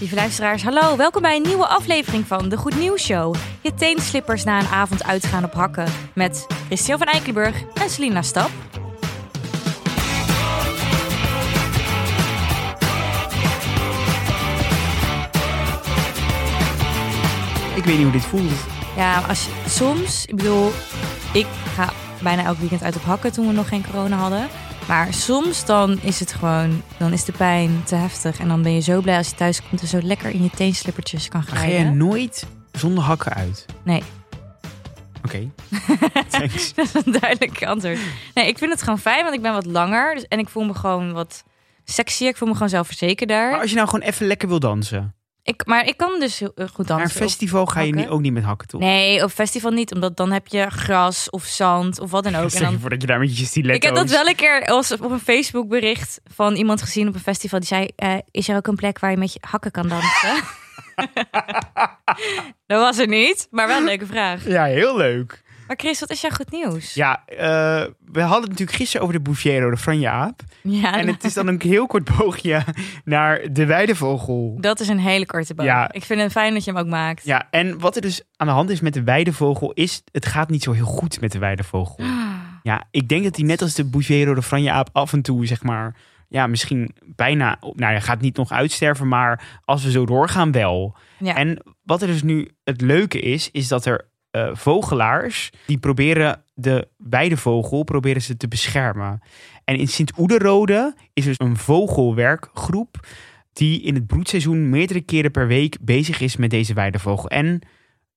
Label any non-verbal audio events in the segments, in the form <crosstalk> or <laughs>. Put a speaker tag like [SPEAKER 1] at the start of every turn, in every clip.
[SPEAKER 1] Lieve luisteraars, hallo. Welkom bij een nieuwe aflevering van De Goed Nieuws Show. Je teenslippers na een avond uitgaan op hakken. Met Christian van Eikelenburg en Selina Stap.
[SPEAKER 2] Ik weet niet hoe dit voelt.
[SPEAKER 1] Ja, als je- soms, ik bedoel, ik ga bijna elk weekend uit op hakken toen we nog geen corona hadden. Maar soms dan is het gewoon, dan is de pijn te heftig. En dan ben je zo blij als je thuis komt en zo lekker in je teenslippertjes kan
[SPEAKER 2] Maar ga jij
[SPEAKER 1] glijden. <laughs>
[SPEAKER 2] nooit zonder hakken uit?
[SPEAKER 1] Nee. <laughs>
[SPEAKER 2] Oké. Thanks.
[SPEAKER 1] Dat is een duidelijk antwoord. Nee, ik vind het gewoon fijn, want ik ben wat langer. Dus, en ik voel me gewoon wat sexier. Ik voel me gewoon zelfverzekerder.
[SPEAKER 2] Maar
[SPEAKER 1] Maar,
[SPEAKER 2] als je nou gewoon even lekker wil dansen.
[SPEAKER 1] ik, maar ik kan dus heel- heel goed
[SPEAKER 2] naar een
[SPEAKER 1] dansen. Of-
[SPEAKER 2] festival ga je
[SPEAKER 1] hakken?
[SPEAKER 2] niet, ook niet met hakken <laughs> toe.
[SPEAKER 1] nee, op festival niet. Omdat dan heb je gras of zand of wat dan
[SPEAKER 2] <laughs>
[SPEAKER 1] ook. En
[SPEAKER 2] Stel
[SPEAKER 1] dan
[SPEAKER 2] je voor dat je daar met je stiletto's...
[SPEAKER 1] Ik heb dat wel een keer als op een Facebook bericht van iemand gezien op een festival. Die zei, eh, is er ook een plek waar je met je hakken kan
[SPEAKER 2] <laughs>
[SPEAKER 1] dansen? dat was er niet, maar wel een leuke
[SPEAKER 2] <laughs>
[SPEAKER 1] vraag.
[SPEAKER 2] Ja, heel leuk.
[SPEAKER 1] Maar Chris, wat is jouw goed nieuws?
[SPEAKER 2] Ja, eh, we hadden het natuurlijk gisteren over de Bouviero, de Franje Aap.
[SPEAKER 1] Ah, Ja,
[SPEAKER 2] En het is dan een heel kort <laughs> boogje naar de weidevogel.
[SPEAKER 1] dat is een hele korte boom.
[SPEAKER 2] Ja.
[SPEAKER 1] Ik vind het fijn dat je hem ook maakt.
[SPEAKER 2] Ja, en wat er dus aan de hand is met de weidevogel is... het gaat niet zo heel goed met de weidevogel. Ja, ik denk dat hij net als de Bouviero, de Franje Aap, af en toe zeg maar... Ja, misschien bijna... Nou ja, gaat niet nog uitsterven, maar als we zo doorgaan wel.
[SPEAKER 1] Ja.
[SPEAKER 2] En wat er dus nu het leuke is, is dat er eh, vogelaars... die proberen de weidevogel proberen ze te beschermen. En in Sint-Oederode is dus een vogelwerkgroep... die in het broedseizoen meerdere keren per week bezig is met deze weidevogel. En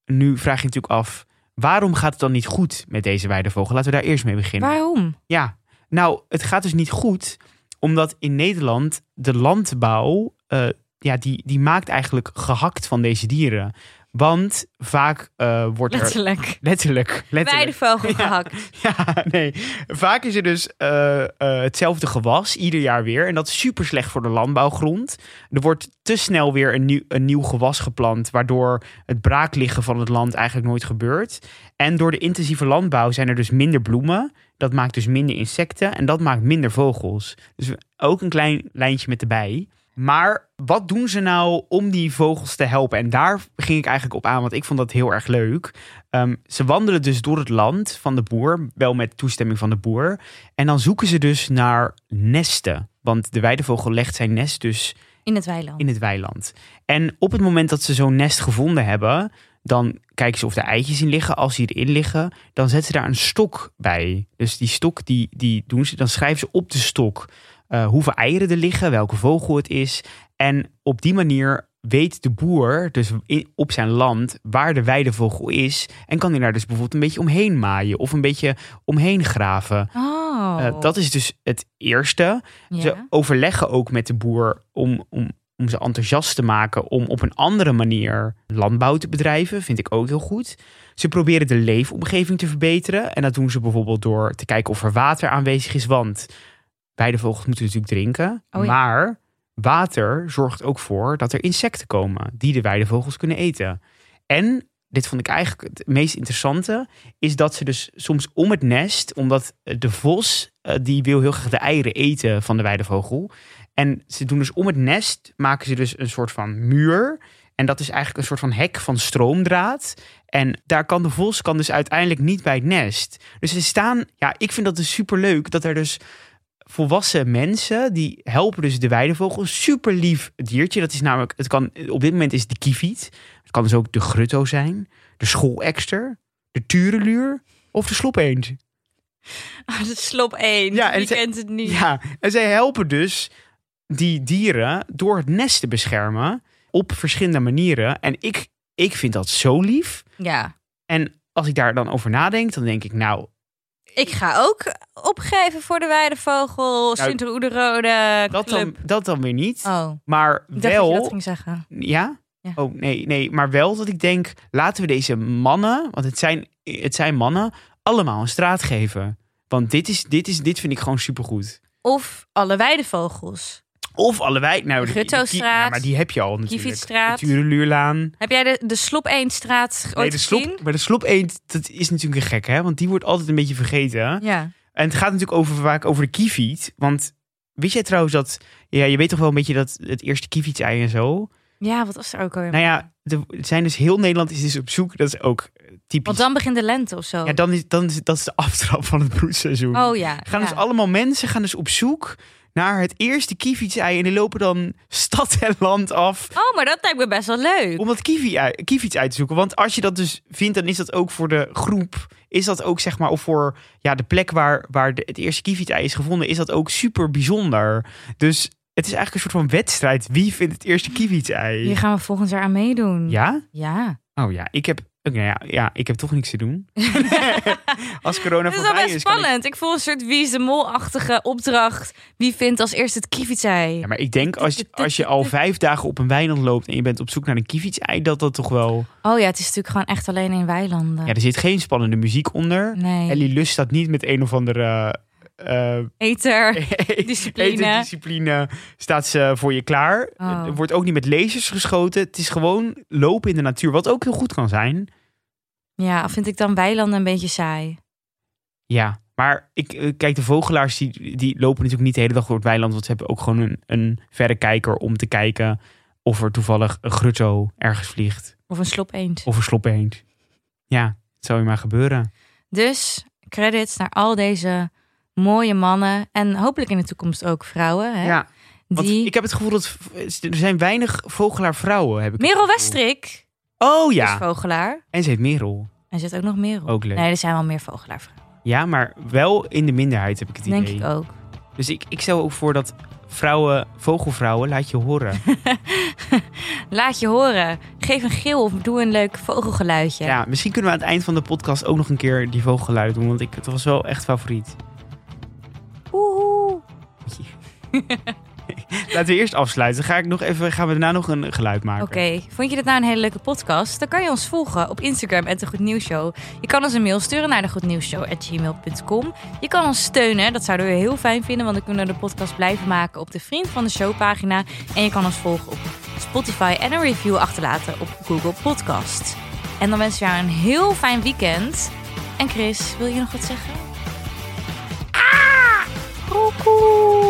[SPEAKER 2] nu vraag je je natuurlijk af... Waarom gaat het dan niet goed met deze weidevogel? Laten we daar eerst mee beginnen.
[SPEAKER 1] Waarom?
[SPEAKER 2] Ja, nou, het gaat dus niet goed, omdat in Nederland de landbouw, eh, ja, die, die maakt eigenlijk gehakt van deze dieren. Want vaak eh, wordt er...
[SPEAKER 1] Letterlijk.
[SPEAKER 2] Letterlijk.
[SPEAKER 1] Bij de
[SPEAKER 2] letterlijk.
[SPEAKER 1] vogel
[SPEAKER 2] Ja.
[SPEAKER 1] gehakt.
[SPEAKER 2] Ja, nee. Vaak is er dus eh, eh, hetzelfde gewas, ieder jaar weer. En dat is super slecht voor de landbouwgrond. Er wordt te snel weer een nieuw, een nieuw gewas geplant, waardoor het braakliggen van het land eigenlijk nooit gebeurt. En door de intensieve landbouw zijn er dus minder bloemen. Dat maakt dus minder insecten en dat maakt minder vogels. Dus we- ook een klein lijntje met de bij. Maar wat doen ze nou om die vogels te helpen? En daar ging ik eigenlijk op aan, want ik vond dat heel erg leuk. Ehm, ze wandelen dus door het land van de boer, wel met toestemming van de boer. En dan zoeken ze dus naar nesten. Want de weidevogel legt zijn nest dus
[SPEAKER 1] In het weiland.
[SPEAKER 2] in het weiland. En op het moment dat ze zo'n nest gevonden hebben, dan kijken ze of er eitjes in liggen. Als die erin liggen, dan zetten ze daar een stok bij. Dus die stok, die, die doen ze, dan schrijven ze op de stok eh, hoeveel eieren er liggen, welke vogel het is. En op die manier weet de boer, dus in- op zijn land, waar de weidevogel is. En kan hij daar dus bijvoorbeeld een beetje omheen maaien of een beetje omheen graven.
[SPEAKER 1] Oh.
[SPEAKER 2] Eh, dat is dus het eerste.
[SPEAKER 1] ja.
[SPEAKER 2] Ze overleggen ook met de boer om, om, om ze enthousiast te maken om op een andere manier landbouw te bedrijven. Vind ik ook heel goed. Ze proberen de leefomgeving te verbeteren. En dat doen ze bijvoorbeeld door te kijken of er water aanwezig is. Want weidevogels moeten natuurlijk drinken.
[SPEAKER 1] Oh ja.
[SPEAKER 2] Maar water zorgt ook voor dat er insecten komen die de weidevogels kunnen eten. En dit vond ik eigenlijk het meest interessante, is dat ze dus soms om het nest, omdat eh, de vos, eh, die wil heel graag de eieren eten van de weidevogel. En ze doen dus om het nest, maken ze dus een soort van muur. En dat is eigenlijk een soort van hek van stroomdraad. En daar kan de vos kan dus uiteindelijk niet bij het nest. Dus ze staan, ja, ik vind dat dus superleuk dat er dus volwassen mensen die helpen dus de weidevogel. Super lief diertje. Dat is namelijk, het kan, op dit moment is het de kieviet. Het kan dus ook de grutto zijn, de schoolekster, de tureluur of de slopeend.
[SPEAKER 1] <laughs> Ah, dat is slop 1.
[SPEAKER 2] Ja,
[SPEAKER 1] Ja,
[SPEAKER 2] en
[SPEAKER 1] en Je
[SPEAKER 2] ze-
[SPEAKER 1] kent het niet.
[SPEAKER 2] Ja, en zij helpen dus die dieren door het nest te beschermen op verschillende manieren. En ik, ik vind dat zo lief.
[SPEAKER 1] ja.
[SPEAKER 2] En als ik daar dan over nadenk, dan denk ik nou,
[SPEAKER 1] Ik ga ook opgeven voor de Weidevogel,
[SPEAKER 2] Nou,
[SPEAKER 1] Sint-Oederode,
[SPEAKER 2] dat
[SPEAKER 1] Club.
[SPEAKER 2] dan, dat dan weer niet.
[SPEAKER 1] Oh,
[SPEAKER 2] Maar
[SPEAKER 1] ik dacht dat je
[SPEAKER 2] wel...
[SPEAKER 1] dat ging zeggen.
[SPEAKER 2] Ja?
[SPEAKER 1] Ja.
[SPEAKER 2] Oh nee, nee, maar wel dat ik denk, laten we deze mannen, want het zijn, het zijn mannen, allemaal een straat geven. Want dit, is, dit, is, dit vind ik gewoon supergoed.
[SPEAKER 1] Of alle Weidevogels.
[SPEAKER 2] Of allebei, nou, de- de-
[SPEAKER 1] Guttostraat,
[SPEAKER 2] ja, maar die heb je al natuurlijk.
[SPEAKER 1] Kievitstraat.
[SPEAKER 2] De Tureluurlaan.
[SPEAKER 1] Heb jij de, de Slop 1-straat ooit
[SPEAKER 2] Nee, de slop,
[SPEAKER 1] gezien?
[SPEAKER 2] maar de slop eend, dat is natuurlijk een gek, hè? Want die wordt altijd een beetje vergeten.
[SPEAKER 1] Ja.
[SPEAKER 2] En het gaat natuurlijk over, vaak over de kieviet. Want wist jij trouwens dat, ja, je weet toch wel een beetje dat het eerste kieviet-ei en zo.
[SPEAKER 1] Ja, wat was er ook alweer?
[SPEAKER 2] Nou ja, er zijn dus heel Nederland is dus op zoek. Dat is ook typisch.
[SPEAKER 1] Want dan begint de lente of zo.
[SPEAKER 2] Ja, dan is, dan is dat is de <laughs> aftrap van het broedseizoen.
[SPEAKER 1] Oh ja.
[SPEAKER 2] gaan
[SPEAKER 1] ja.
[SPEAKER 2] dus allemaal mensen gaan dus op zoek naar het eerste kievitsei. En die lopen dan <laughs> stad en land af
[SPEAKER 1] Oh, maar dat lijkt me best wel leuk.
[SPEAKER 2] om dat kiwi uit, kievits uit te zoeken. Want als je dat dus vindt, dan is dat ook voor de groep. Is dat ook zeg maar, of voor ja, de plek waar, waar de, het eerste kievitsei is gevonden, is dat ook super bijzonder. Dus het is eigenlijk een soort van wedstrijd. Wie vindt het eerste kievitsei?
[SPEAKER 1] Hier gaan we volgend jaar aan meedoen.
[SPEAKER 2] Ja?
[SPEAKER 1] Ja.
[SPEAKER 2] Oh ja, ik heb, oké, ja, ja, ik heb toch niks
[SPEAKER 1] <laughs>
[SPEAKER 2] te doen. Als corona
[SPEAKER 1] Dat is wel
[SPEAKER 2] voorbij is,
[SPEAKER 1] best
[SPEAKER 2] kan ik-
[SPEAKER 1] spannend. Ik... voel een soort wie is de mol-achtige opdracht. Wie vindt als eerst het kievitsei?
[SPEAKER 2] Ja, maar ik denk als, je- als je al vijf dagen op een weiland loopt en je bent op zoek naar een kievitsei, dat dat toch wel...
[SPEAKER 1] Oh ja, het is natuurlijk gewoon echt alleen in weilanden.
[SPEAKER 2] Ja, er zit geen spannende muziek onder.
[SPEAKER 1] nee.
[SPEAKER 2] Ellie Lust staat niet met een of andere eh,
[SPEAKER 1] Eter. <laughs> Discipline.
[SPEAKER 2] etendiscipline staat ze voor je klaar.
[SPEAKER 1] Oh.
[SPEAKER 2] Er wordt ook niet met lasers geschoten. Het is gewoon lopen in de natuur, wat ook heel goed kan zijn.
[SPEAKER 1] Ja, vind ik dan weilanden een beetje saai.
[SPEAKER 2] Ja, maar ik, eh, kijk, de vogelaars die, die lopen natuurlijk niet de hele dag door het weiland. Want ze hebben ook gewoon een, een verrekijker om te kijken of er toevallig een grutto ergens vliegt.
[SPEAKER 1] Of een slop eend.
[SPEAKER 2] Of een sloppeend. Ja, het zou je maar gebeuren.
[SPEAKER 1] Dus credits naar al deze mooie mannen. En hopelijk in de toekomst ook vrouwen. Hè,
[SPEAKER 2] Ja, want
[SPEAKER 1] die...
[SPEAKER 2] ik heb het gevoel dat v- er zijn weinig vogelaarvrouwen. Heb ik het
[SPEAKER 1] Merel
[SPEAKER 2] gevoel.
[SPEAKER 1] Westrik
[SPEAKER 2] Oh
[SPEAKER 1] is
[SPEAKER 2] ja,
[SPEAKER 1] vogelaar.
[SPEAKER 2] en ze heet Merel.
[SPEAKER 1] Er zit ook nog Merel.
[SPEAKER 2] Ook leuk.
[SPEAKER 1] Nee, er zijn wel meer vogelaarvrouwen.
[SPEAKER 2] Ja, maar wel in de minderheid heb ik het idee.
[SPEAKER 1] Denk ik ook.
[SPEAKER 2] Dus ik, ik stel ook voor dat vrouwen, vogelvrouwen, laat je horen.
[SPEAKER 1] Laat je horen. Geef een geel of doe een leuk vogelgeluidje.
[SPEAKER 2] Ja. misschien kunnen we aan het eind van de podcast ook nog een keer die vogelgeluiden doen. Want ik, het was wel echt favoriet.
[SPEAKER 1] Oehoe.
[SPEAKER 2] Laten we eerst afsluiten. Ga ik nog even, gaan we daarna nog een geluid maken.
[SPEAKER 1] Oké, vond je dit nou een hele leuke podcast? Dan kan je ons volgen op Instagram at de Goed Nieuws Show. Je kan ons een mail sturen naar de gmail.com. Je kan ons steunen, dat zouden we heel fijn vinden, want dan kunnen we de podcast blijven maken op de Vriend van de Show pagina. En je kan ons volgen op Spotify en een review achterlaten op Google Podcast. En dan wensen we jou een heel fijn weekend. En Chris, wil je nog wat zeggen? Ah! Koekoe!